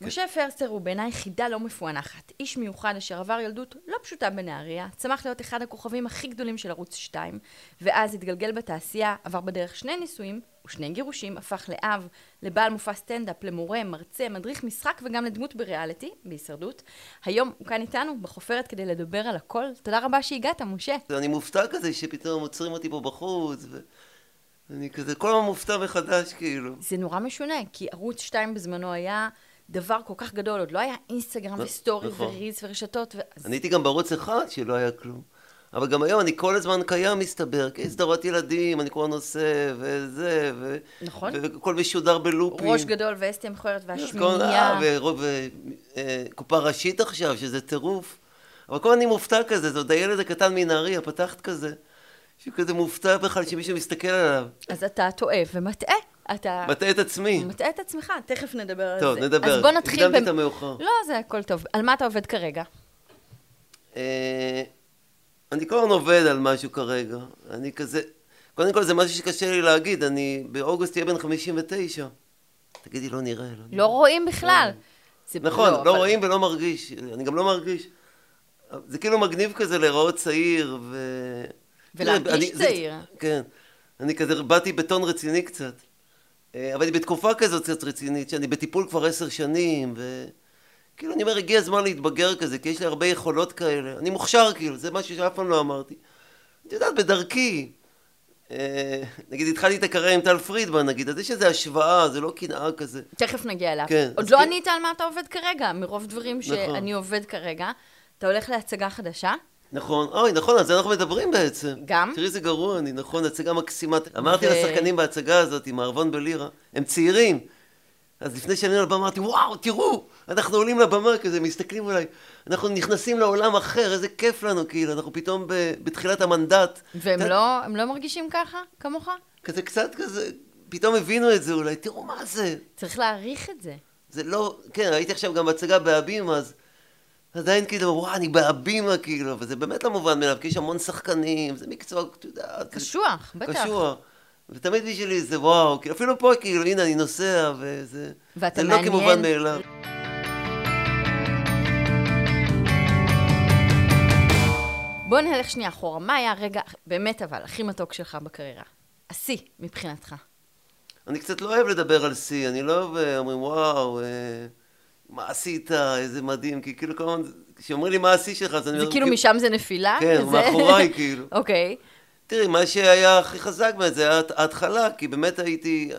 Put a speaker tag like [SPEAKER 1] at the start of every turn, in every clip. [SPEAKER 1] משה פרסטר הוא בעיניי חידה לא מפוענחת. איש מיוחד אשר עבר ילדות לא פשוטה בנהריה, צמח להיות אחד הכוכבים הכי גדולים של ערוץ 2, ואז התגלגל בתעשייה, עבר בדרך שני נישואים ושני גירושים, הפך לאב, לבעל מופע סטנדאפ, למורה, מרצה, מדריך משחק וגם לדמות בריאליטי, בהישרדות. היום הוא כאן איתנו, בחופרת כדי לדבר על הכל. תודה רבה שהגעת, משה.
[SPEAKER 2] אני מופתע כזה שפתאום עוצרים אותי פה בחוץ, ואני כזה כל הזמן מופתע מחדש, כאילו.
[SPEAKER 1] זה נורא משונה, כי ערוץ 2 בזמנו היה... דבר כל כך גדול, עוד לא היה אינסטגרם
[SPEAKER 2] לא,
[SPEAKER 1] וסטורי
[SPEAKER 2] נכון.
[SPEAKER 1] וריז ורשתות. ואז-
[SPEAKER 2] אני הייתי גם בערוץ אחד שלא היה כלום. אבל גם היום אני כל הזמן קיים, מסתבר, כי סדרות ילדים, אני כבר נוסע, וזה, ו...
[SPEAKER 1] נכון.
[SPEAKER 2] והכל משודר בלופים.
[SPEAKER 1] ראש גדול ואסתי המכוערת
[SPEAKER 2] אז כל- אה,
[SPEAKER 1] והשמינייה.
[SPEAKER 2] ורוב- ו- אה, קופה ראשית עכשיו, שזה טירוף. אבל כל הזמן אני מופתע כזה, זה עוד הילד הקטן מנהריה, פתחת כזה. שהוא כזה מופתע בכלל שמישהו מסתכל עליו.
[SPEAKER 1] אז אתה טועה ומטעה. אתה
[SPEAKER 2] מטעה את עצמי.
[SPEAKER 1] מטעה את עצמך, תכף נדבר על זה.
[SPEAKER 2] טוב, נדבר.
[SPEAKER 1] אז בוא נתחיל...
[SPEAKER 2] הקדמתי
[SPEAKER 1] במ-
[SPEAKER 2] את המאוחר.
[SPEAKER 1] לא, זה הכל טוב. על מה אתה עובד כרגע?
[SPEAKER 2] אה, אני כל הזמן עובד על משהו כרגע. אני כזה... קודם כל, זה משהו שקשה לי להגיד. אני באוגוסט אהיה בן 59. תגידי, לא נראה, לא נראה.
[SPEAKER 1] לא רואים בכלל. זה-
[SPEAKER 2] נכון, לא,
[SPEAKER 1] אבל-
[SPEAKER 2] רואים ולא מרגיש. אני גם לא מרגיש. זה כאילו מגניב כזה להיראות צעיר ו... לא,
[SPEAKER 1] ולהרגיש
[SPEAKER 2] אני- זה-
[SPEAKER 1] צעיר.
[SPEAKER 2] כן. אני כזה באתי בטון רציני קצת. אה, אבל אני בתקופה כזאת קצת רצינית, שאני בטיפול כבר עשר שנים, וכאילו אני אומר, הגיע הזמן להתבגר כזה, כי יש לי הרבה יכולות כאלה. אני מוכשר כאילו, זה משהו שאף פעם לא אמרתי. את יודעת, בדרכי, אה, נגיד התחלתי את הקריירה עם טל פרידמן, נגיד, אז יש איזו השוואה, זה לא קנאה כזה.
[SPEAKER 1] תכף נגיע אליו.
[SPEAKER 2] כן,
[SPEAKER 1] עוד
[SPEAKER 2] אז
[SPEAKER 1] לא
[SPEAKER 2] כן.
[SPEAKER 1] ענית על מה אתה עובד כרגע, מרוב דברים שאני עובד כרגע. אתה הולך להצגה חדשה?
[SPEAKER 2] נכון, אוי, נכון, על זה אנחנו מדברים בעצם.
[SPEAKER 1] גם?
[SPEAKER 2] תראי איזה גרוע אני, נכון, הצגה מקסימה. אמרתי
[SPEAKER 1] ו-
[SPEAKER 2] לשחקנים בהצגה הזאת, עם הערבון בלירה, הם צעירים. אז לפני שעלינו לבמה אמרתי, וואו, תראו, אנחנו עולים לבמה כזה, מסתכלים עליי, אנחנו נכנסים לעולם אחר, איזה כיף לנו, כאילו, אנחנו פתאום ב- בתחילת המנדט.
[SPEAKER 1] והם
[SPEAKER 2] אתה-
[SPEAKER 1] לא- הם לא מרגישים ככה, כמוך?
[SPEAKER 2] כזה קצת כזה, פתאום הבינו את זה אולי, תראו מה זה.
[SPEAKER 1] צריך להעריך את זה.
[SPEAKER 2] זה לא, כן, הייתי עכשיו גם בהצגה בהבימה, אז עדיין כאילו, וואו, אני בהבימה, כאילו, אבל זה באמת לא מובן מאליו, כי יש המון שחקנים, זה מקצוע, אתה יודע, זה-
[SPEAKER 1] קשוח, בטח.
[SPEAKER 2] קשוח. ותמיד בשבילי זה וואו, כאילו, אפילו פה, כאילו, הנה, אני נוסע, וזה...
[SPEAKER 1] ואתה
[SPEAKER 2] זה לא
[SPEAKER 1] מעניין.
[SPEAKER 2] כמובן מאליו.
[SPEAKER 1] בוא נלך שנייה אחורה. מה היה הרגע, באמת אבל, הכי מתוק שלך בקריירה? השיא, מבחינתך.
[SPEAKER 2] אני קצת לא אוהב לדבר על שיא, אני לא אוהב, אה, אומרים, וואו, אה, מה עשית, איזה מדהים, כי כאילו, כל הזמן, כשאומרים לי מה השיא שלך, אז אני...
[SPEAKER 1] זה
[SPEAKER 2] אומר,
[SPEAKER 1] כאילו משם זה נפילה?
[SPEAKER 2] כן, הוא
[SPEAKER 1] זה-
[SPEAKER 2] מאחוריי, כאילו.
[SPEAKER 1] אוקיי.
[SPEAKER 2] תראי, מה שהיה הכי חזק באמת זה היה הת- ההתחלה, כי באמת הייתי...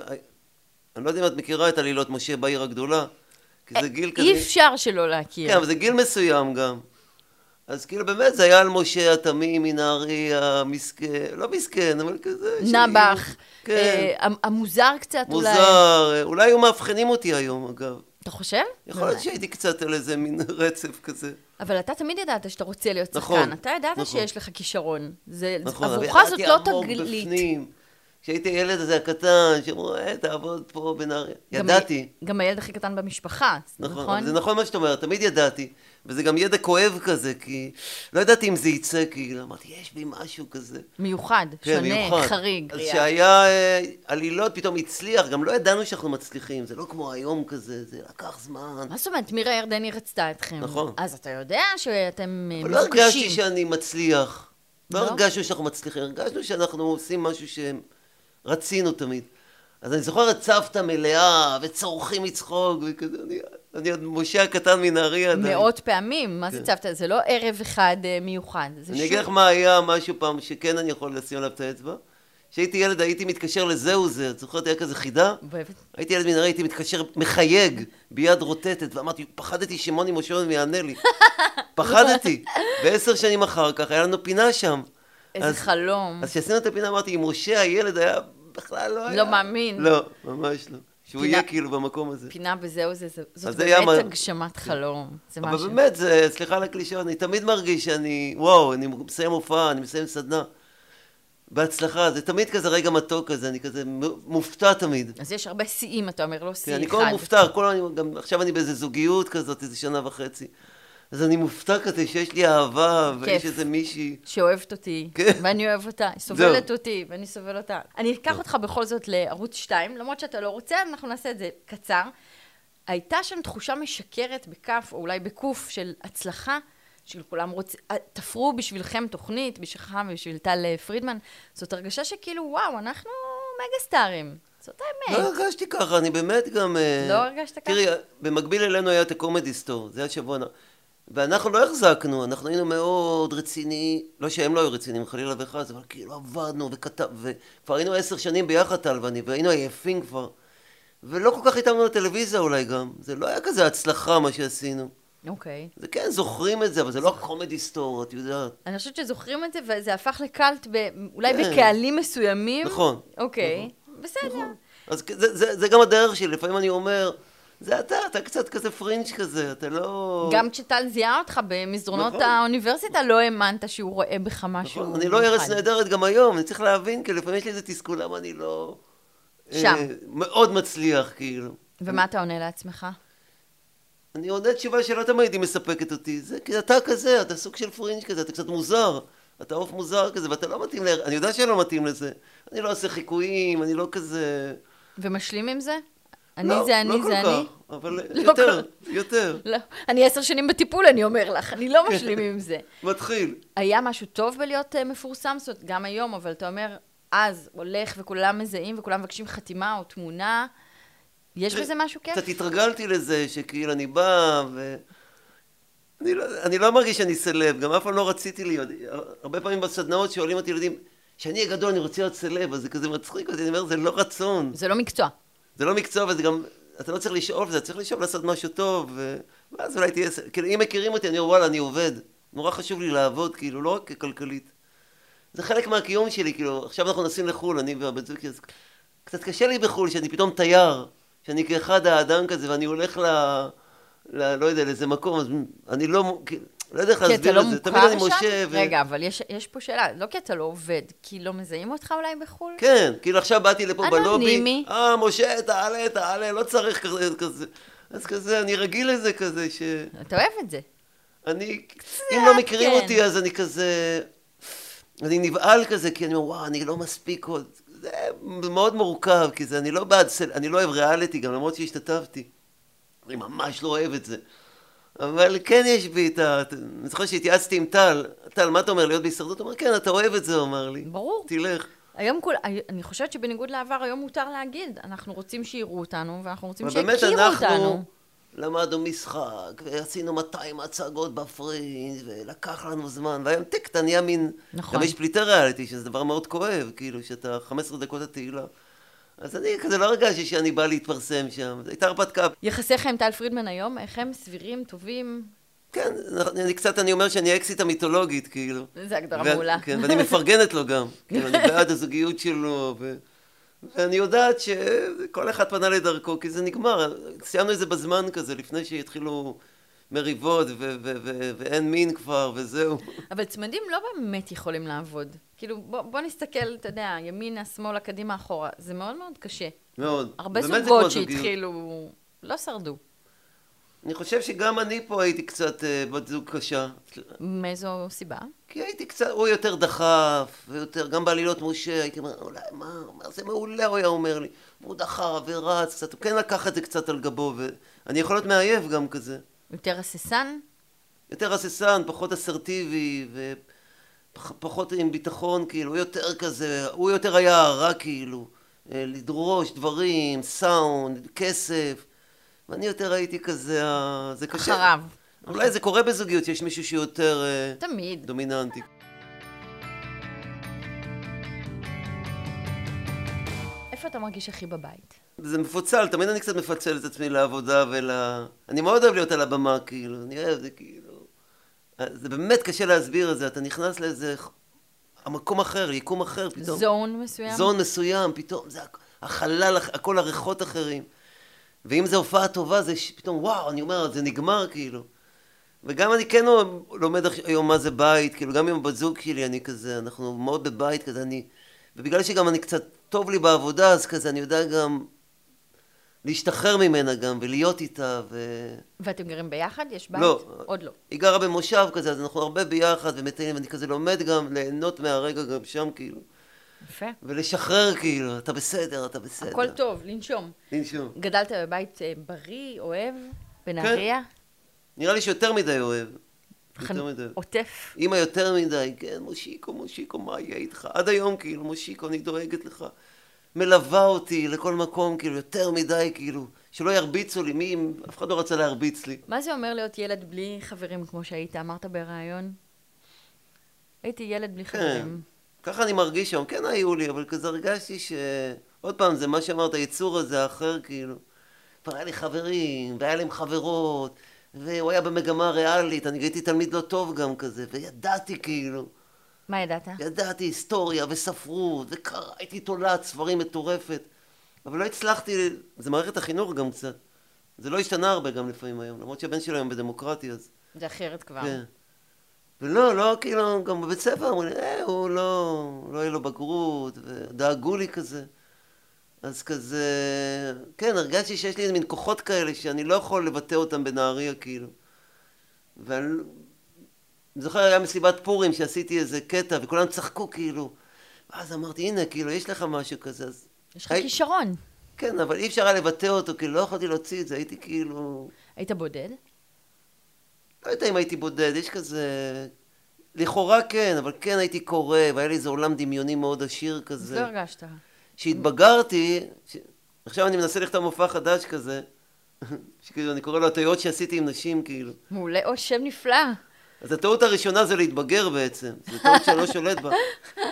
[SPEAKER 2] אני לא יודע אם את מכירה את עלילות משה בעיר הגדולה, כי זה גיל כזה...
[SPEAKER 1] אה, אי אפשר שלא
[SPEAKER 2] כן,
[SPEAKER 1] להכיר.
[SPEAKER 2] אבל זה גיל מסוים גם. אז כאילו באמת זה היה על משה התמים מנהריה, מסכן, לא מסכן, אבל כזה...
[SPEAKER 1] נבח.
[SPEAKER 2] שהוא- כן,
[SPEAKER 1] אה, המ- המוזר קצת אולי.
[SPEAKER 2] מוזר. אה, אולי היו מאבחנים אותי היום, אגב.
[SPEAKER 1] אתה חושב? לא.
[SPEAKER 2] יכול להיות שהייתי קצת על איזה מין רצף כזה.
[SPEAKER 1] אבל אתה תמיד ידעת שאתה רוצה להיות
[SPEAKER 2] נכון,
[SPEAKER 1] שחקן. אתה ידעת
[SPEAKER 2] נכון.
[SPEAKER 1] שיש לך כישרון. זה,
[SPEAKER 2] נכון, אבל
[SPEAKER 1] עבורך זאת
[SPEAKER 2] ידעתי
[SPEAKER 1] לא
[SPEAKER 2] עמוק
[SPEAKER 1] תגלית.
[SPEAKER 2] בפנים. כשהייתי הילד הזה הקטן, שאמרו, אה, תעבוד פה בנהריה. ידעתי.
[SPEAKER 1] גם, גם הילד הכי קטן במשפחה,
[SPEAKER 2] נכון,
[SPEAKER 1] נכון?
[SPEAKER 2] אבל זה נכון מה שאת אומרת, תמיד ידעתי, וזה גם ידע כואב כזה, כי לא ידעתי אם זה יצא, כאילו, אמרתי, יש בי משהו כזה.
[SPEAKER 1] מיוחד,
[SPEAKER 2] כן,
[SPEAKER 1] שונה,
[SPEAKER 2] מיוחד.
[SPEAKER 1] חריג.
[SPEAKER 2] אז שהיה אה, עלילות, פתאום הצליח, גם לא ידענו שאנחנו מצליחים, זה לא כמו היום כזה, זה לקח זמן.
[SPEAKER 1] מה זאת אומרת, מירה ירדני רצתה אתכם.
[SPEAKER 2] נכון.
[SPEAKER 1] אז אתה יודע שאתם אה,
[SPEAKER 2] אבל לא הרגשתי
[SPEAKER 1] מבוקשים.
[SPEAKER 2] שאני מצליח. לא
[SPEAKER 1] לא?
[SPEAKER 2] הרגשנו שאנחנו מצליחים, הרגשנו שאנחנו עושים משהו שרצינו תמיד. אז אני זוכר את סבתא מלאה, וצורכים מצחוק, וכזה, אני- אני עוד משה הקטן מנהריה עדיין. כן.
[SPEAKER 1] מאות פעמים, מה זה צוותא? זה לא ערב אחד אה, מיוחד. זה
[SPEAKER 2] אני
[SPEAKER 1] שוב-
[SPEAKER 2] אגיד לך מה היה משהו פעם שכן אני יכול לשים עליו את האצבע. כשהייתי ילד הייתי מתקשר לזהו זה, את זוכרת היה כזה חידה?
[SPEAKER 1] באמת.
[SPEAKER 2] הייתי ילד מנהרי, הייתי מתקשר, מחייג, ביד רוטטת, ואמרתי, פחדתי שמוני מושלם יענה לי. פחדתי. ועשר שנים אחר כך, היה לנו פינה שם.
[SPEAKER 1] איזה
[SPEAKER 2] אז-
[SPEAKER 1] חלום.
[SPEAKER 2] אז כשעשינו את הפינה אמרתי, אם משה הילד היה, בכלל לא היה.
[SPEAKER 1] מאמין.
[SPEAKER 2] לא, ממש לא. שהוא
[SPEAKER 1] פינה-
[SPEAKER 2] יהיה כאילו במקום הזה.
[SPEAKER 1] פינה בזהו זה, זה- זאת
[SPEAKER 2] אז זה היה
[SPEAKER 1] באמת
[SPEAKER 2] מה-
[SPEAKER 1] הגשמת חלום. זה
[SPEAKER 2] אבל
[SPEAKER 1] משהו.
[SPEAKER 2] באמת, זה, סליחה על הקלישאות, אני תמיד מרגיש שאני, וואו, אני מסיים הופעה, אני מסיים סדנה. בהצלחה, זה תמיד כזה רגע מתוק כזה, אני כזה מ- מופתע תמיד.
[SPEAKER 1] אז יש הרבה שיאים, אתה אומר, לא שיא
[SPEAKER 2] כן,
[SPEAKER 1] אחד.
[SPEAKER 2] אני כל הזמן מופתע, כל הזמן, אני גם עכשיו אני באיזה זוגיות כזאת, איזה שנה וחצי. אז אני מופתע כזה שיש לי אהבה,
[SPEAKER 1] כיף.
[SPEAKER 2] ויש איזה מישהי.
[SPEAKER 1] שאוהבת אותי,
[SPEAKER 2] כן.
[SPEAKER 1] ואני אוהב אותה, היא סובלת אותי, ואני סובל אותה. אני אקח אותך בכל זאת לערוץ 2, למרות שאתה לא רוצה, אנחנו נעשה את זה קצר. הייתה שם תחושה משקרת בכף, או אולי בקוף, של הצלחה, של כולם רוצים, תפרו בשבילכם תוכנית, בשבילך ובשביל טל אה, פרידמן. זאת הרגשה שכאילו, וואו, אנחנו מגה סטארים. זאת
[SPEAKER 2] לא
[SPEAKER 1] האמת.
[SPEAKER 2] הרגשתי ככה, אני באמת גם... אה,
[SPEAKER 1] אוקיי. לא הרגשת ככה?
[SPEAKER 2] תראי, במקביל אלינו היה את הקומדי סטור, זה היה שבוע... נ- ואנחנו לא החזקנו, אנחנו היינו מאוד רציניים, לא שהם לא היו רציניים, חלילה וחס, אבל כאילו עבדנו וכתב, וכבר היינו עשר שנים ביחד, טל ואני, והיינו עייפים כבר. ולא כל כך התאמנו לטלוויזיה אולי גם, זה לא היה כזה הצלחה מה שעשינו.
[SPEAKER 1] אוקיי.
[SPEAKER 2] זה כן, זוכרים את זה, אבל זה לא הקומדי סטור, את יודעת.
[SPEAKER 1] אני חושבת שזוכרים את זה, וזה הפך לקאלט, ב- אולי
[SPEAKER 2] כן.
[SPEAKER 1] בקהלים מסוימים.
[SPEAKER 2] נכון.
[SPEAKER 1] אוקיי. בסדר.
[SPEAKER 2] אז כ- זה, זה, זה גם הדרך שלי, לפעמים אני אומר, זה אתה, אתה קצת כזה פרינג' כזה, אתה לא...
[SPEAKER 1] גם כשטל זיהה אותך במסדרונות
[SPEAKER 2] נכון.
[SPEAKER 1] האוניברסיטה, לא האמנת שהוא רואה בך משהו
[SPEAKER 2] נכון, אני לא ארץ
[SPEAKER 1] מיוחד.
[SPEAKER 2] נהדרת גם היום, אני צריך להבין, כי לפעמים יש לי איזה תסכול, למה אני לא... אה,
[SPEAKER 1] שם.
[SPEAKER 2] מאוד מצליח, כאילו.
[SPEAKER 1] ומה אתה עונה לעצמך?
[SPEAKER 2] אני עונה תשובה שלא תמיד היא מספקת אותי, זה כי אתה כזה, אתה סוג של פרינג' כזה, אתה קצת מוזר. אתה עוף מוזר כזה, ואתה לא מתאים ל... אני יודע שלא מתאים לזה. אני לא עושה חיקויים, אני לא כזה...
[SPEAKER 1] ומשלים עם זה? אני
[SPEAKER 2] לא,
[SPEAKER 1] זה אני,
[SPEAKER 2] לא כל
[SPEAKER 1] זה
[SPEAKER 2] כך,
[SPEAKER 1] אני?
[SPEAKER 2] אבל
[SPEAKER 1] לא
[SPEAKER 2] יותר,
[SPEAKER 1] כל-
[SPEAKER 2] יותר.
[SPEAKER 1] לא. אני עשר שנים בטיפול, אני אומר לך, אני לא משלים עם זה.
[SPEAKER 2] מתחיל.
[SPEAKER 1] היה משהו טוב בלהיות אה, מפורסם? זאת אומרת, גם היום, אבל אתה אומר, אז הולך וכולם מזהים וכולם מבקשים חתימה או תמונה. יש בזה משהו כיף?
[SPEAKER 2] קצת התרגלתי לזה, שכאילו אני בא ו... אני לא, אני לא מרגיש שאני סלב, גם אף פעם לא רציתי להיות. הרבה פעמים בסדנאות שואלים אותי ילדים, כשאני אהיה גדול אני רוצה להיות סלב, אז זה כזה מצחיק אותי, אני אומר, זה לא רצון.
[SPEAKER 1] זה לא מקצוע.
[SPEAKER 2] זה לא מקצוע וזה גם, אתה לא צריך לשאוף לזה, צריך לשאוף לעשות משהו טוב, ו... ואז אולי תהיה, ס- כאילו אם מכירים אותי, אני אומר, וואלה, אני עובד. נורא חשוב לי לעבוד, כאילו, לא רק כלכלית. זה חלק מהקיום שלי, כאילו, עכשיו אנחנו נוסעים לחו"ל, אני והבת זוגי, אז קצת קשה לי בחו"ל, שאני פתאום תייר, שאני כאחד האדם כזה, ואני הולך ל... ל... לא יודע, לאיזה מקום, אז אני לא... מ- כאילו, לא יודע איך
[SPEAKER 1] כי אתה
[SPEAKER 2] להסביר
[SPEAKER 1] לא
[SPEAKER 2] את זה, תמיד אני
[SPEAKER 1] מוכר
[SPEAKER 2] משה...
[SPEAKER 1] שם?
[SPEAKER 2] ו-
[SPEAKER 1] רגע, אבל יש- יש פה שאלה, לא כי אתה לא עובד, כי לא מזהים אותך אולי בחו"ל?
[SPEAKER 2] כן, כאילו עכשיו באתי לפה
[SPEAKER 1] אנונימי.
[SPEAKER 2] בלובי, אה, משה, תעלה, תעלה, לא צריך כזה, כזה. אז כזה, אני רגיל לזה כזה, ש...
[SPEAKER 1] אתה אוהב את זה.
[SPEAKER 2] אני, אם לא מכירים
[SPEAKER 1] כן.
[SPEAKER 2] אותי, אז אני כזה, אני נבהל כזה, כי אני אומר, וואו, אני לא מספיק עוד. זה מאוד מורכב, כי זה, אני לא בעד, סל- אני לא אוהב ריאליטי, גם למרות שהשתתפתי. אני ממש לא אוהב את זה. אבל כן יש בי את ה... אני זוכר שהתייעצתי עם טל, טל, מה אתה אומר, להיות בהישרדות? הוא אומר, כן, אתה אוהב את זה, הוא אמר לי.
[SPEAKER 1] ברור.
[SPEAKER 2] תלך.
[SPEAKER 1] היום כול, אני חושבת שבניגוד לעבר, היום מותר להגיד, אנחנו רוצים שיראו אותנו, ואנחנו רוצים
[SPEAKER 2] אבל באמת
[SPEAKER 1] שיכירו אותנו.
[SPEAKER 2] למדנו משחק, ועשינו 200 הצגות בפרינג', ולקח לנו זמן, והיום טיק, אתה נהיה מין...
[SPEAKER 1] נכון.
[SPEAKER 2] גם יש פליטי ריאליטי, שזה דבר מאוד כואב, כאילו, שאתה 15 דקות התהילה. אז אני כזה לא הרגשתי שאני בא להתפרסם שם, זו הייתה הרפתקה.
[SPEAKER 1] יחסיך עם טל פרידמן היום, איך הם סבירים, טובים?
[SPEAKER 2] כן, אני, אני קצת, אני אומר שאני האקסיט המיתולוגית, כאילו.
[SPEAKER 1] זו הגדרה
[SPEAKER 2] ואת-
[SPEAKER 1] מעולה.
[SPEAKER 2] כן, ואני מפרגנת לו גם. כאילו, אני בעד הזוגיות שלו, ו... ואני יודעת שכל אחד פנה לדרכו, כי זה נגמר. סיימנו את זה בזמן כזה, לפני שהתחילו מריבות, ו- ו- ו- ואין מין כבר, וזהו.
[SPEAKER 1] אבל צמדים לא באמת יכולים לעבוד. כאילו, בוא, בוא נסתכל, אתה יודע, ימינה, שמאלה, קדימה, אחורה. זה מאוד מאוד קשה.
[SPEAKER 2] מאוד.
[SPEAKER 1] הרבה
[SPEAKER 2] באמת זה כמו
[SPEAKER 1] זוגות
[SPEAKER 2] הזוגיות.
[SPEAKER 1] שהתחילו, לא שרדו.
[SPEAKER 2] אני חושב שגם אני פה הייתי קצת אה, בת זוג קשה.
[SPEAKER 1] מאיזו סיבה?
[SPEAKER 2] כי הייתי קצת, הוא יותר דחף, ויותר, גם בעלילות משה, הייתי אומר, אולי, מה, מה, זה מעולה, הוא היה אומר לי. הוא דחף ורץ קצת, הוא כן לקח את זה קצת על גבו, ואני יכול להיות מעייף גם כזה.
[SPEAKER 1] יותר הססן?
[SPEAKER 2] יותר הססן, פחות אסרטיבי, ופחות עם ביטחון, כאילו, הוא יותר כזה, הוא יותר היה הרע, כאילו, אה, לדרוש דברים, סאונד, כסף, ואני יותר הייתי כזה, אה, זה קשה.
[SPEAKER 1] אחריו.
[SPEAKER 2] אולי זה קורה בזוגיות, שיש מישהו שיותר אה,
[SPEAKER 1] תמיד.
[SPEAKER 2] דומיננטי.
[SPEAKER 1] איפה אתה מרגיש הכי בבית?
[SPEAKER 2] זה מפוצל, תמיד אני קצת מפצל את עצמי לעבודה ול... אני מאוד אוהב להיות על הבמה, כאילו, אני אוהב, זה כאילו... זה באמת קשה להסביר את זה, אתה נכנס לאיזה... המקום אחר, יקום אחר פתאום.
[SPEAKER 1] זון מסוים?
[SPEAKER 2] זון מסוים, פתאום זה הכ- החלל, הח- הכל הריחות אחרים. ואם זו הופעה טובה, זה ש- פתאום, וואו, אני אומר, זה נגמר, כאילו. וגם אני כן לומד עכשיו- היום מה זה בית, כאילו, גם עם הבת זוג שלי, אני כזה, אנחנו מאוד בבית, כזה, אני... ובגלל שגם אני קצת טוב לי בעבודה, אז כזה, אני יודע גם להשתחרר ממנה גם, ולהיות איתה, ו...
[SPEAKER 1] ואתם גרים ביחד? יש בית?
[SPEAKER 2] לא.
[SPEAKER 1] עוד לא.
[SPEAKER 2] היא גרה במושב כזה, אז אנחנו הרבה ביחד ומטיילים, ואני כזה לומד גם ליהנות מהרגע גם שם, כאילו.
[SPEAKER 1] יפה.
[SPEAKER 2] ולשחרר, כאילו, אתה בסדר, אתה בסדר.
[SPEAKER 1] הכל טוב, לנשום.
[SPEAKER 2] לנשום.
[SPEAKER 1] גדלת בבית אה, בריא, אוהב, בנהריה?
[SPEAKER 2] נראה לי שיותר מדי אוהב.
[SPEAKER 1] חנ-
[SPEAKER 2] כן, יותר מדי.
[SPEAKER 1] עוטף.
[SPEAKER 2] אימא יותר מדי, כן, מושיקו, מושיקו, מה יהיה איתך? עד היום, כאילו, מושיקו, אני דואגת לך. מלווה אותי לכל מקום, כאילו, יותר מדי, כאילו, שלא ירביצו לי, מי, אף אחד לא רצה להרביץ לי.
[SPEAKER 1] מה זה אומר להיות ילד בלי חברים, כמו שהיית, אמרת בריאיון? הייתי ילד בלי
[SPEAKER 2] כן,
[SPEAKER 1] חברים.
[SPEAKER 2] ככה אני מרגיש היום, כן היו לי, אבל כזה הרגשתי ש... עוד פעם, זה מה שאמרת, היצור הזה האחר, כאילו. כבר היה לי חברים, והיה להם חברות, והוא היה במגמה ריאלית, אני הייתי תלמיד לא טוב גם כזה, וידעתי כאילו,
[SPEAKER 1] מה ידעת?
[SPEAKER 2] ידעתי היסטוריה וספרות, וקראתי תולעת ספרים מטורפת, אבל לא הצלחתי, זה מערכת החינוך גם קצת. זה לא השתנה הרבה גם לפעמים היום, למרות שהבן שלי היום בדמוקרטי, אז...
[SPEAKER 1] זה אחרת כבר.
[SPEAKER 2] כן. ולא, לא, כאילו, גם בבית ספר אמרו לי, אה, הוא לא, לא יהיה לו בגרות, ודאגו לי כזה. אז כזה, כן, הרגשתי שיש לי איזה מין כוחות כאלה שאני לא יכול לבטא אותם בנהריה, כאילו. ואני לא- זוכר, היה מסיבת פורים שעשיתי איזה קטע, וכולם צחקו, כאילו. ואז אמרתי, הנה, כאילו, יש לך משהו כזה, אז...
[SPEAKER 1] יש לך
[SPEAKER 2] הי-
[SPEAKER 1] כישרון.
[SPEAKER 2] כן, אבל אי אפשר היה לבטא אותו, כאילו, לא יכולתי להוציא את זה, הייתי כאילו...
[SPEAKER 1] היית בודד?
[SPEAKER 2] לא יודע אם הייתי בודד, יש כזה... לכאורה כן, אבל כן הייתי קורא, והיה לי איזה עולם דמיוני מאוד עשיר
[SPEAKER 1] אז לא
[SPEAKER 2] כזה.
[SPEAKER 1] הרגשת.
[SPEAKER 2] כשהתבגרתי, ש... עכשיו אני מנסה לכתוב מופע חדש כזה, שכאילו אני קורא לו הטעויות שעשיתי עם נשים, כאילו.
[SPEAKER 1] מעולה, או שם נפלא.
[SPEAKER 2] אז הטעות הראשונה זה להתבגר בעצם, זו טעות שאני לא שולט בה.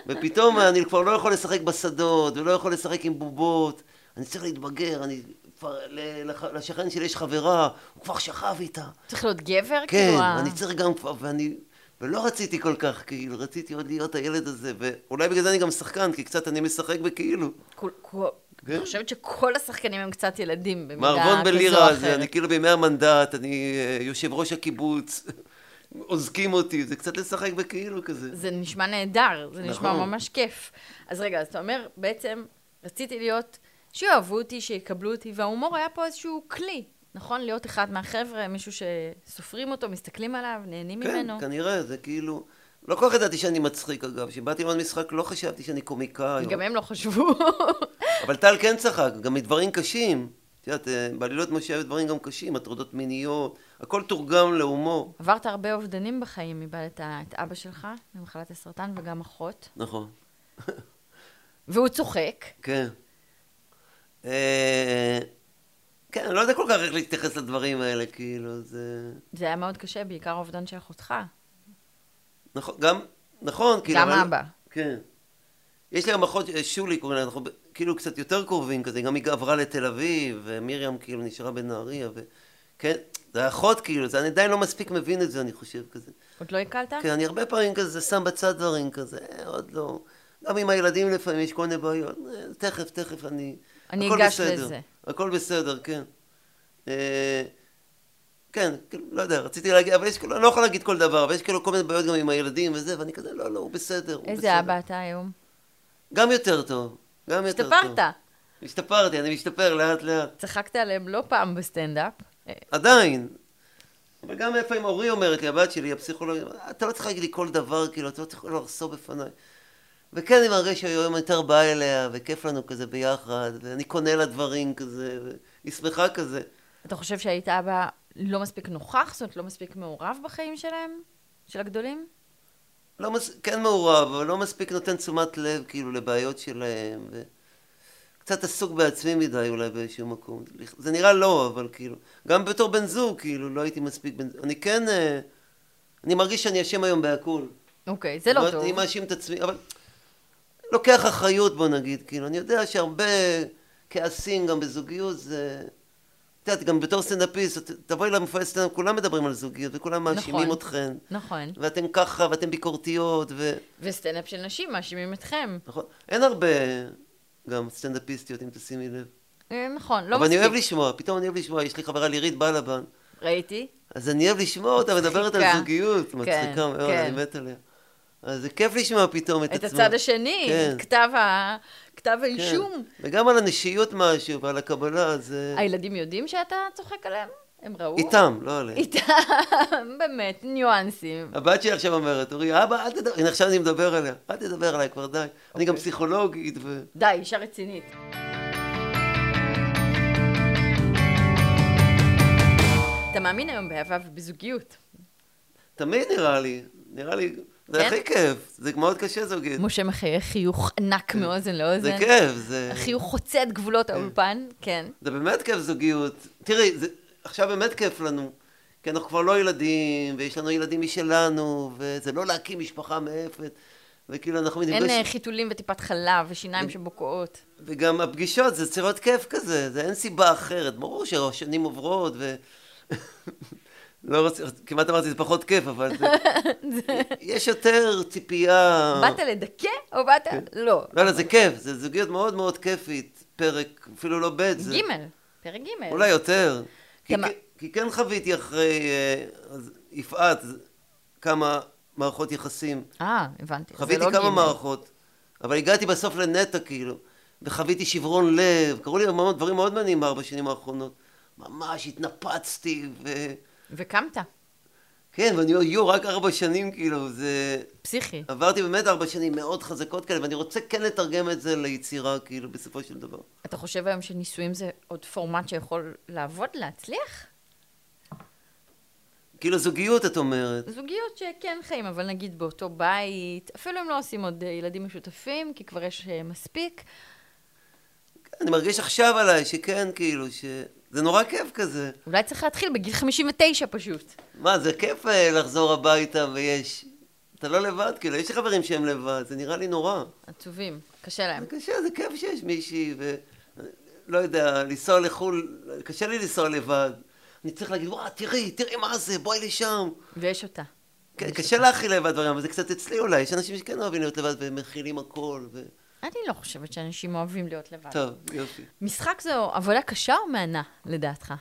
[SPEAKER 2] ופתאום אני כבר לא יכול לשחק בשדות, ולא יכול לשחק עם בובות, אני צריך להתבגר, אני... כבר ל- לח- לשכן שלי יש חברה, הוא כבר שכב איתה.
[SPEAKER 1] צריך להיות גבר?
[SPEAKER 2] כן,
[SPEAKER 1] כאילו, ה-
[SPEAKER 2] אני צריך גם כבר, ואני... ולא רציתי כל כך, כאילו, רציתי עוד להיות הילד הזה, ואולי בגלל זה אני גם שחקן, כי קצת אני משחק בכאילו.
[SPEAKER 1] כל- כל-
[SPEAKER 2] כן.
[SPEAKER 1] אני חושבת שכל השחקנים הם קצת ילדים, במידה כזו או אחרת.
[SPEAKER 2] מערבון בלירה הזה, אני כאילו בימי המנדט, אני אה, יושב ראש הקיבוץ, אוזקים אותי, זה קצת לשחק בכאילו כזה.
[SPEAKER 1] זה נשמע נהדר, זה נשמע
[SPEAKER 2] נכון.
[SPEAKER 1] ממש כיף. אז רגע, אז אתה אומר, בעצם רציתי להיות, שיאהבו אותי, שיקבלו אותי, וההומור היה פה איזשהו כלי, נכון? להיות אחד מהחבר'ה, מישהו שסופרים אותו, מסתכלים עליו, נהנים
[SPEAKER 2] כן,
[SPEAKER 1] ממנו.
[SPEAKER 2] כנראה, זה כאילו... לא כל כך ידעתי שאני מצחיק, אגב. כשבאתי ללמוד משחק לא חשבתי שאני קומיקאי. או-
[SPEAKER 1] גם הם לא חשבו.
[SPEAKER 2] אבל טל כן צחק, גם מדברים קשים. את יודעת, אה, בעלילות משה היו דברים גם קשים, הטרדות מיניות, הכל תורגם להומור.
[SPEAKER 1] עברת הרבה אובדנים בחיים, איבדת את אבא שלך ממחלת הסרטן וגם אחות,
[SPEAKER 2] נכון.
[SPEAKER 1] והוא צוחק.
[SPEAKER 2] כן. אה, כן, אני לא יודע כל כך איך להתייחס לדברים האלה, כאילו, זה...
[SPEAKER 1] זה היה מאוד קשה, בעיקר האובדן של אחותך.
[SPEAKER 2] נכון, גם, נכון, כאילו...
[SPEAKER 1] גם
[SPEAKER 2] אבל-
[SPEAKER 1] אבא.
[SPEAKER 2] כן. יש לי גם אחות, אה, שולי קוראים לה, אנחנו ב- כאילו קצת יותר קרובים כזה, גם היא עברה לתל אביב, ומרים כאילו נשארה בנהריה, וכן, זה אחות כאילו, זה, אני עדיין לא מספיק מבין את זה, אני חושב, כזה.
[SPEAKER 1] עוד לא הקלת?
[SPEAKER 2] כן, אני הרבה פעמים כזה שם בצד דברים כזה, אה, עוד לא. גם עם הילדים לפעמים יש כל מיני בעיות, אה, תכף, תכף אני...
[SPEAKER 1] אני
[SPEAKER 2] הכל
[SPEAKER 1] אגש
[SPEAKER 2] בסדר.
[SPEAKER 1] לזה.
[SPEAKER 2] הכל בסדר, כן. אה, כן, כאילו, לא יודע, רציתי להגיד, אבל יש כאילו, אני לא יכול להגיד כל דבר, אבל יש כאילו כל מיני בעיות גם עם הילדים וזה, ואני כזה, לא, לא, הוא בסדר, הוא בסדר.
[SPEAKER 1] איזה אבא אתה היום?
[SPEAKER 2] גם יותר טוב, גם יותר טוב.
[SPEAKER 1] השתפרת.
[SPEAKER 2] השתפרתי, אני משתפר לאט לאט.
[SPEAKER 1] צחקת עליהם לא פעם בסטנדאפ. אה,
[SPEAKER 2] עדיין. אבל גם לפעמים אורי אומרת לי, הבת שלי, הפסיכולוגית, אתה לא צריך להגיד לי כל דבר, כאילו, אתה לא צריך לחסור בפניי. וכן, אני מרגיש שהיום יותר בא אליה, וכיף לנו כזה ביחד, ואני קונה לה דברים כזה, והיא שמחה כזה.
[SPEAKER 1] אתה חושב שהיית אבא לא מספיק נוכח, זאת אומרת, לא מספיק מעורב בחיים שלהם? של הגדולים?
[SPEAKER 2] לא מס... כן מעורב, אבל לא מספיק נותן תשומת לב, כאילו, לבעיות שלהם, ו... קצת עסוק בעצמי מדי אולי באיזשהו מקום. זה נראה לא, אבל כאילו, גם בתור בן זוג, כאילו, לא הייתי מספיק בן... אני כן... אה, אני מרגיש שאני אשם היום בהכול.
[SPEAKER 1] אוקיי, זה לא
[SPEAKER 2] אני-
[SPEAKER 1] טוב.
[SPEAKER 2] אני מאשים את עצמי, אבל... לוקח אחריות, בוא נגיד, כאילו, אני יודע שהרבה כעסים גם בזוגיות זה... את יודעת, גם בתור סטנדאפיסט, ת- תבואי למופעי סטנדאפ, כולם מדברים על זוגיות, וכולם מאשימים
[SPEAKER 1] נכון.
[SPEAKER 2] אתכן,
[SPEAKER 1] נכון.
[SPEAKER 2] ואתן ככה, ואתן ביקורתיות, ו...
[SPEAKER 1] וסטנדאפ של נשים מאשימים אתכם.
[SPEAKER 2] נכון? אין הרבה גם סטנדאפיסטיות, אם תשימי לב.
[SPEAKER 1] אה, נכון, לא
[SPEAKER 2] אבל אני
[SPEAKER 1] מספיק.
[SPEAKER 2] אוהב לשמוע, פתאום אני אוהב לשמוע, יש לי חברה לירית בלבן,
[SPEAKER 1] ראיתי.
[SPEAKER 2] אז אני אוהב לשמוע אותה מדברת על
[SPEAKER 1] מצחיקה.
[SPEAKER 2] זוגיות,
[SPEAKER 1] כן,
[SPEAKER 2] מצחיקה מאוד,
[SPEAKER 1] כן.
[SPEAKER 2] אני מת עליה. אז זה כיף לשמוע פתאום את
[SPEAKER 1] את
[SPEAKER 2] עצמה.
[SPEAKER 1] הצד השני,
[SPEAKER 2] כן,
[SPEAKER 1] את כתב ה- כתב
[SPEAKER 2] כן.
[SPEAKER 1] האישום.
[SPEAKER 2] וגם על הנשיות משהו ועל הקבלה, זה...
[SPEAKER 1] הילדים יודעים שאתה צוחק עליהם? הם ראו?
[SPEAKER 2] כן. איתם, לא עליהם.
[SPEAKER 1] איתם, באמת, ניואנסים.
[SPEAKER 2] הבת שלי עכשיו אומרת, אורי, אבא, אל תדבר, הנה עכשיו אני מדבר עליה, אל תדבר עליי כבר, די. אני
[SPEAKER 1] אוקיי.
[SPEAKER 2] גם פסיכולוגית, ו...
[SPEAKER 1] די, אישה רצינית. אתה מאמין היום באהבה ובזוגיות.
[SPEAKER 2] תמיד נראה לי, נראה לי,
[SPEAKER 1] כן?
[SPEAKER 2] זה הכי כיף, זה מאוד קשה זוגית.
[SPEAKER 1] משה מחייך חיוך ענק מאוזן לאוזן.
[SPEAKER 2] כן. זה כיף, זה...
[SPEAKER 1] החיוך חוצה את גבולות האולפן, כן.
[SPEAKER 2] זה באמת כיף זוגיות. תראי, זה, עכשיו באמת כיף לנו, כי אנחנו כבר לא ילדים, ויש לנו ילדים משלנו, וזה לא להקים משפחה מאפת, וכאילו אנחנו
[SPEAKER 1] אין אה,
[SPEAKER 2] נפגשים,
[SPEAKER 1] חיתולים וטיפת חלב ושיניים שבוקעות.
[SPEAKER 2] וגם הפגישות זה צריך להיות כיף כזה, זה אין סיבה אחרת. ברור שהשנים עוברות, ו... לא רוצה, כמעט אמרתי זה פחות כיף, אבל זה... יש יותר ציפייה...
[SPEAKER 1] באת לדכא או באת? לא.
[SPEAKER 2] לא, לא, זה כיף, זה זוגיות מאוד מאוד כיפית, פרק, אפילו לא ב', זה...
[SPEAKER 1] ג', פרק ג'.
[SPEAKER 2] אולי יותר. כי,
[SPEAKER 1] גם-
[SPEAKER 2] כי, כי כן חוויתי אחרי אה, אז יפעת אז כמה מערכות יחסים.
[SPEAKER 1] אה, הבנתי. זה
[SPEAKER 2] חוויתי
[SPEAKER 1] לא
[SPEAKER 2] כמה
[SPEAKER 1] ג'.
[SPEAKER 2] מערכות, אבל הגעתי בסוף לנטע כאילו, וחוויתי שברון לב, קרו לי המון דברים מאוד מעניינים בארבע שנים האחרונות. ממש התנפצתי, ו...
[SPEAKER 1] וקמת,
[SPEAKER 2] כן, ואני אומר, יו, רק ארבע שנים כאילו, זה...
[SPEAKER 1] פסיכי.
[SPEAKER 2] עברתי באמת ארבע שנים מאוד חזקות כאלה, ואני רוצה כן לתרגם את זה ליצירה, כאילו, בסופו של דבר.
[SPEAKER 1] אתה חושב היום שנישואים זה עוד פורמט שיכול לעבוד, להצליח?
[SPEAKER 2] כאילו, זוגיות, את אומרת.
[SPEAKER 1] זוגיות שכן חיים, אבל נגיד באותו בית, אפילו אם לא עושים עוד אה, ילדים משותפים, כי כבר יש אה, מספיק.
[SPEAKER 2] אני מרגיש עכשיו עליי שכן, כאילו, ש... זה נורא כיף כזה.
[SPEAKER 1] אולי צריך להתחיל בגיל 59 פשוט.
[SPEAKER 2] מה, זה כיף אה, לחזור הביתה ויש... אתה לא לבד, כאילו, יש לי חברים שהם לבד, זה נראה לי נורא.
[SPEAKER 1] עצובים, קשה להם.
[SPEAKER 2] זה קשה, זה כיף שיש מישהי, ו... לא יודע, לנסוע לחו"ל, קשה לי לנסוע לבד. אני צריך להגיד, וואה, תראי, תראי מה זה, בואי לשם.
[SPEAKER 1] ויש אותה.
[SPEAKER 2] כן, קשה להכיל לבד דברים, אבל זה קצת אצלי אולי, יש אנשים שכן אוהבים להיות לבד והם מכילים הכל, ו...
[SPEAKER 1] אני לא חושבת שאנשים אוהבים להיות לבד.
[SPEAKER 2] טוב, יופי.
[SPEAKER 1] משחק זו עבודה קשה או מהנה, לדעתך?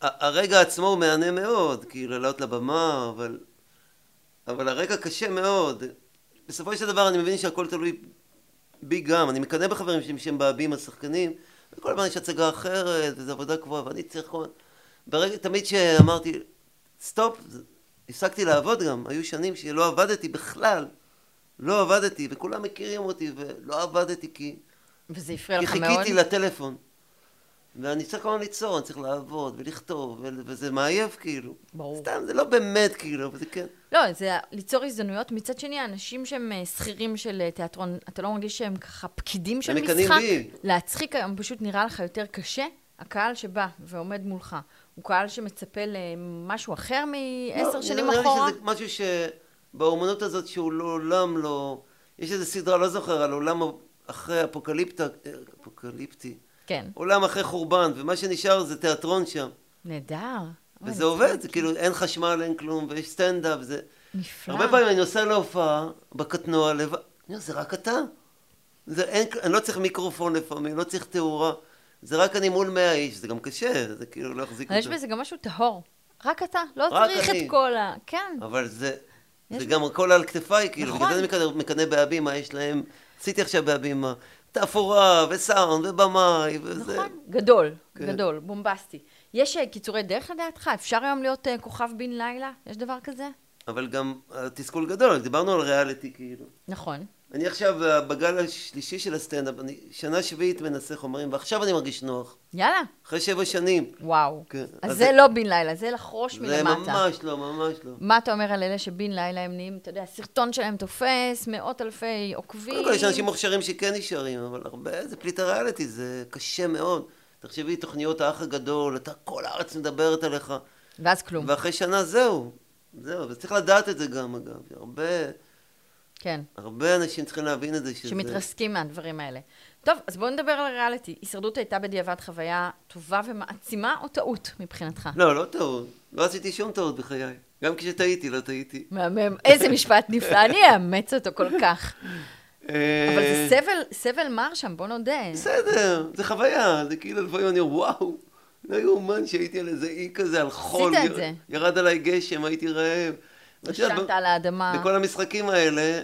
[SPEAKER 2] ה- הרגע עצמו הוא מהנה מאוד, כאילו לעלות לבמה, אבל... אבל הרגע קשה מאוד. בסופו של דבר אני מבין שהכל תלוי בי גם. אני מקנא בחברים שלי שהם מבעבים השחקנים, וכל הזמן יש הצגה אחרת, וזו עבודה קבועה, ואני צריך כל... ברגע, תמיד שאמרתי, סטופ, זה- הפסקתי לעבוד גם. היו שנים שלא עבדתי בכלל. לא עבדתי, וכולם מכירים אותי, ולא עבדתי כי...
[SPEAKER 1] וזה הפריע
[SPEAKER 2] כי
[SPEAKER 1] לך מאוד?
[SPEAKER 2] חיכיתי לטלפון. ואני צריך כל הזמן ליצור, אני צריך לעבוד ולכתוב, ו- וזה מעייף כאילו.
[SPEAKER 1] ברור.
[SPEAKER 2] סתם, זה לא באמת כאילו, אבל זה כן.
[SPEAKER 1] לא, זה ליצור הזדמנויות. מצד שני, האנשים שהם אה, שכירים של אה, תיאטרון, אתה לא מרגיש שהם ככה פקידים של
[SPEAKER 2] הם מקנאים
[SPEAKER 1] משחק?
[SPEAKER 2] בי.
[SPEAKER 1] להצחיק היום פשוט נראה לך יותר קשה? הקהל שבא ועומד מולך, הוא קהל שמצפה למשהו אחר מעשר
[SPEAKER 2] לא,
[SPEAKER 1] שנים
[SPEAKER 2] נראה לי
[SPEAKER 1] אחורה?
[SPEAKER 2] שזה משהו שבאומנות הזאת שהוא לעולם לא... יש איזו סדרה, לא זוכר, על עולם אחרי אפוקליפטה, אפוקליפטי.
[SPEAKER 1] כן.
[SPEAKER 2] עולם אחרי חורבן, ומה שנשאר זה תיאטרון שם.
[SPEAKER 1] נהדר. אוי, כן.
[SPEAKER 2] וזה עובד, זה כאילו אין חשמל, אין כלום, ויש סטנדאפ, זה...
[SPEAKER 1] נפלא.
[SPEAKER 2] הרבה פעמים אני נוסע להופעה, בקטנוע לבד, אני אומר, זה רק אתה. זה אין, אני לא צריך מיקרופון לפעמים, לא צריך תאורה. זה רק אני מול 100 איש, זה גם קשה, זה כאילו לא יחזיק
[SPEAKER 1] אבל יש
[SPEAKER 2] אותה.
[SPEAKER 1] בזה גם משהו טהור. רק אתה, לא
[SPEAKER 2] רק
[SPEAKER 1] צריך
[SPEAKER 2] אני.
[SPEAKER 1] את כל ה... כן.
[SPEAKER 2] אבל זה,
[SPEAKER 1] יש
[SPEAKER 2] זה גם הכל על כתפיי, כאילו,
[SPEAKER 1] נכון.
[SPEAKER 2] בגלל זה אני מקנא- מקנא בהבימה, יש להם, עשיתי עכשיו בהבימה, תפאורה וסאונד ובמאי וזה.
[SPEAKER 1] נכון, גדול,
[SPEAKER 2] כן.
[SPEAKER 1] גדול, בומבסטי. יש אה, קיצורי דרך לדעתך? אפשר היום להיות אה, כוכב בן לילה? יש דבר כזה?
[SPEAKER 2] אבל גם התסכול גדול, דיברנו על ריאליטי, כאילו.
[SPEAKER 1] נכון.
[SPEAKER 2] אני עכשיו אה, בגל השלישי של הסטנדאפ, אני שנה שביעית מנסה חומרים, ועכשיו אני מרגיש נוח.
[SPEAKER 1] יאללה,
[SPEAKER 2] אחרי שבע שנים.
[SPEAKER 1] וואו.
[SPEAKER 2] כן,
[SPEAKER 1] אז
[SPEAKER 2] אז
[SPEAKER 1] זה
[SPEAKER 2] זה-
[SPEAKER 1] לא בן לילה, זה לחרוש
[SPEAKER 2] זה
[SPEAKER 1] מלמטה.
[SPEAKER 2] ממש לא, ממש לא.
[SPEAKER 1] מה אתה אומר על אלה שבן לילה הם נהיים, אתה יודע, הסרטון שלהם תופס, מאות אלפי עוקבים.
[SPEAKER 2] קודם כל, יש אנשים מוכשרים שכן נשארים, אבל הרבה, זה פליט הריאליטי, זה קשה מאוד. תחשבי, תוכניות האח הגדול, אתה, כל הארץ מדברת עליך,
[SPEAKER 1] ואז כלום.
[SPEAKER 2] ואחרי שנה זהו. זהו, וצריך לדעת את זה גם, אגב. הרבה,
[SPEAKER 1] כן,
[SPEAKER 2] הרבה אנשים צריכים להבין את זה, שזה...
[SPEAKER 1] שמתרסקים מהדברים האלה. טוב, אז בואו נדבר על ריאליטי. הישרדות הייתה בדיעבד חוויה טובה ומעצימה או טעות מבחינתך?
[SPEAKER 2] לא, לא טעות. לא עשיתי שום טעות בחיי. גם כשטעיתי, לא טעיתי.
[SPEAKER 1] מהמם, איזה משפט נפלא, אני אאמץ אותו כל כך. אבל זה
[SPEAKER 2] אה,
[SPEAKER 1] סבל, סבל מר שם, בוא נודה.
[SPEAKER 2] בסדר, זה חוויה, זה כאילו לפעמים אני אומר, וואו, לא יאומן שהייתי על איזה אי כזה, על חול.
[SPEAKER 1] עשית את זה.
[SPEAKER 2] ירד עליי גשם, הייתי רעב. ואת יודעת,
[SPEAKER 1] ישנת
[SPEAKER 2] ב-
[SPEAKER 1] על האדמה.
[SPEAKER 2] בכל המשחקים האלה,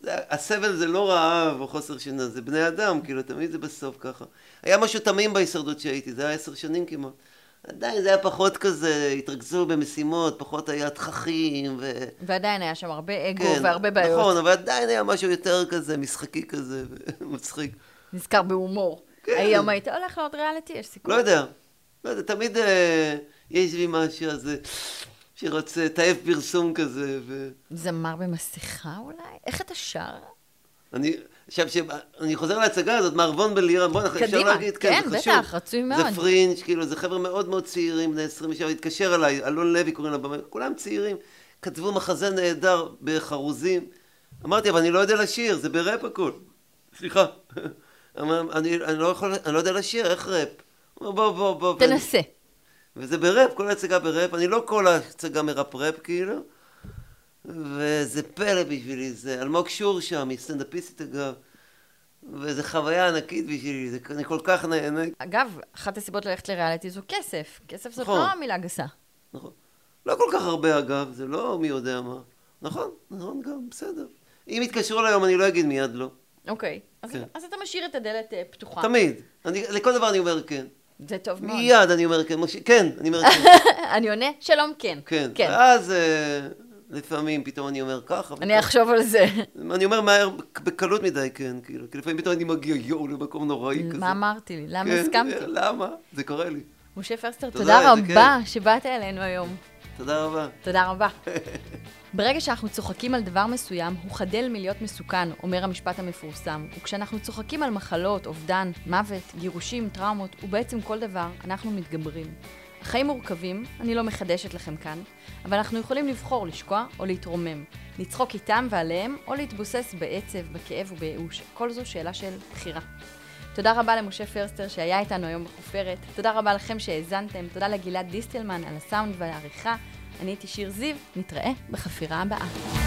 [SPEAKER 2] זה- הסבל זה לא רעב או חוסר שינה, זה בני אדם, כאילו, תמיד זה בסוף ככה. היה משהו תמים בהישרדות שהייתי, זה היה עשר שנים כמעט. עדיין זה היה פחות כזה, התרכזו במשימות, פחות היה תככים ו...
[SPEAKER 1] ועדיין היה שם הרבה אגו
[SPEAKER 2] כן,
[SPEAKER 1] והרבה בעיות.
[SPEAKER 2] נכון, אבל עדיין היה משהו יותר כזה, משחקי כזה, מצחיק.
[SPEAKER 1] נזכר בהומור.
[SPEAKER 2] כן.
[SPEAKER 1] היום היית הולך לעוד ריאליטי, יש סיכוי.
[SPEAKER 2] לא יודע, לא יודע, תמיד אה, יש בי משהו אז אה, שרוצה, תאב פרסום כזה, ו...
[SPEAKER 1] זמר במסכה אולי? איך אתה שר?
[SPEAKER 2] אני, עכשיו, ש... אני חוזר להצגה הזאת, מערבון בלירן, בוא, אנחנו- אפשר
[SPEAKER 1] קדימה,
[SPEAKER 2] להגיד,
[SPEAKER 1] כן,
[SPEAKER 2] זה
[SPEAKER 1] בטח,
[SPEAKER 2] חשוב.
[SPEAKER 1] רצוי
[SPEAKER 2] זה
[SPEAKER 1] מאוד.
[SPEAKER 2] פרינג', כאילו, זה חבר'ה מאוד מאוד צעירים, בני 27, התקשר אליי, אלון לוי קוראים לבמאי, כולם צעירים, כתבו מחזה נהדר בחרוזים. אמרתי, אבל אני לא יודע לשיר, זה בראפ הכול. סליחה. אמר, אני, אני, לא יכול, אני לא יודע לשיר, איך ראפ? הוא אומר, בוא, בוא, בוא.
[SPEAKER 1] תנסה.
[SPEAKER 2] וזה בראפ, כל ההצגה בראפ, אני לא כל ההצגה מרפרפ כאילו, וזה פלא בשבילי, זה אלמוג שור שם, היא סטנדאפיסטית אגב, וזו חוויה ענקית בשבילי, זה, אני כל כך נהנה,
[SPEAKER 1] אגב, אחת הסיבות ללכת לריאליטי זו כסף. כסף זאת
[SPEAKER 2] נכון.
[SPEAKER 1] לא מילה גסה.
[SPEAKER 2] נכון? לא כל כך הרבה אגב, זה לא מי יודע מה, נכון, נכון גם, בסדר. אם יתקשרו אליי היום אני לא אגיד מיד לא,
[SPEAKER 1] אוקיי. אז-
[SPEAKER 2] כן.
[SPEAKER 1] אז אתה משאיר את הדלת אה, פתוחה.
[SPEAKER 2] תמיד, אני, לכל דבר אני אומר כן,
[SPEAKER 1] זה טוב מאוד. אה,
[SPEAKER 2] מיד אני אומר כן, משה, כן, אני אומר כן,
[SPEAKER 1] אני עונה, שלום, כן.
[SPEAKER 2] כן, ואז אה, לפעמים פתאום אני אומר ככה,
[SPEAKER 1] אני אחשוב על זה.
[SPEAKER 2] אני אומר מהר, בקלות מדי, כן, כאילו, כי לפעמים פתאום אני מגיע יואו למקום נוראי כזה.
[SPEAKER 1] מה אמרתי לי? למה
[SPEAKER 2] כן,
[SPEAKER 1] הסכמתי?
[SPEAKER 2] למה? זה קורה לי.
[SPEAKER 1] משה פרסטר,
[SPEAKER 2] תודה,
[SPEAKER 1] תודה
[SPEAKER 2] זה
[SPEAKER 1] רבה שבאת אלינו היום.
[SPEAKER 2] תודה רבה.
[SPEAKER 1] תודה רבה. ברגע שאנחנו צוחקים על דבר מסוים, הוא חדל מלהיות מסוכן, אומר המשפט המפורסם. וכשאנחנו צוחקים על מחלות, אובדן, מוות, גירושים, טראומות, ובעצם כל דבר, אנחנו מתגברים. החיים מורכבים, אני לא מחדשת לכם כאן, אבל אנחנו יכולים לבחור לשקוע או להתרומם, לצחוק איתם ועליהם, או להתבוסס בעצב, בכאב ובייאוש. כל זו שאלה של בחירה. תודה רבה למשה פרסטר שהיה איתנו היום בחופרת. תודה רבה לכם שהאזנתם. תודה לגלעד דיסטלמן על הסאונד והעריכה. אני הייתי שיר זיו, נתראה בחפירה הבאה.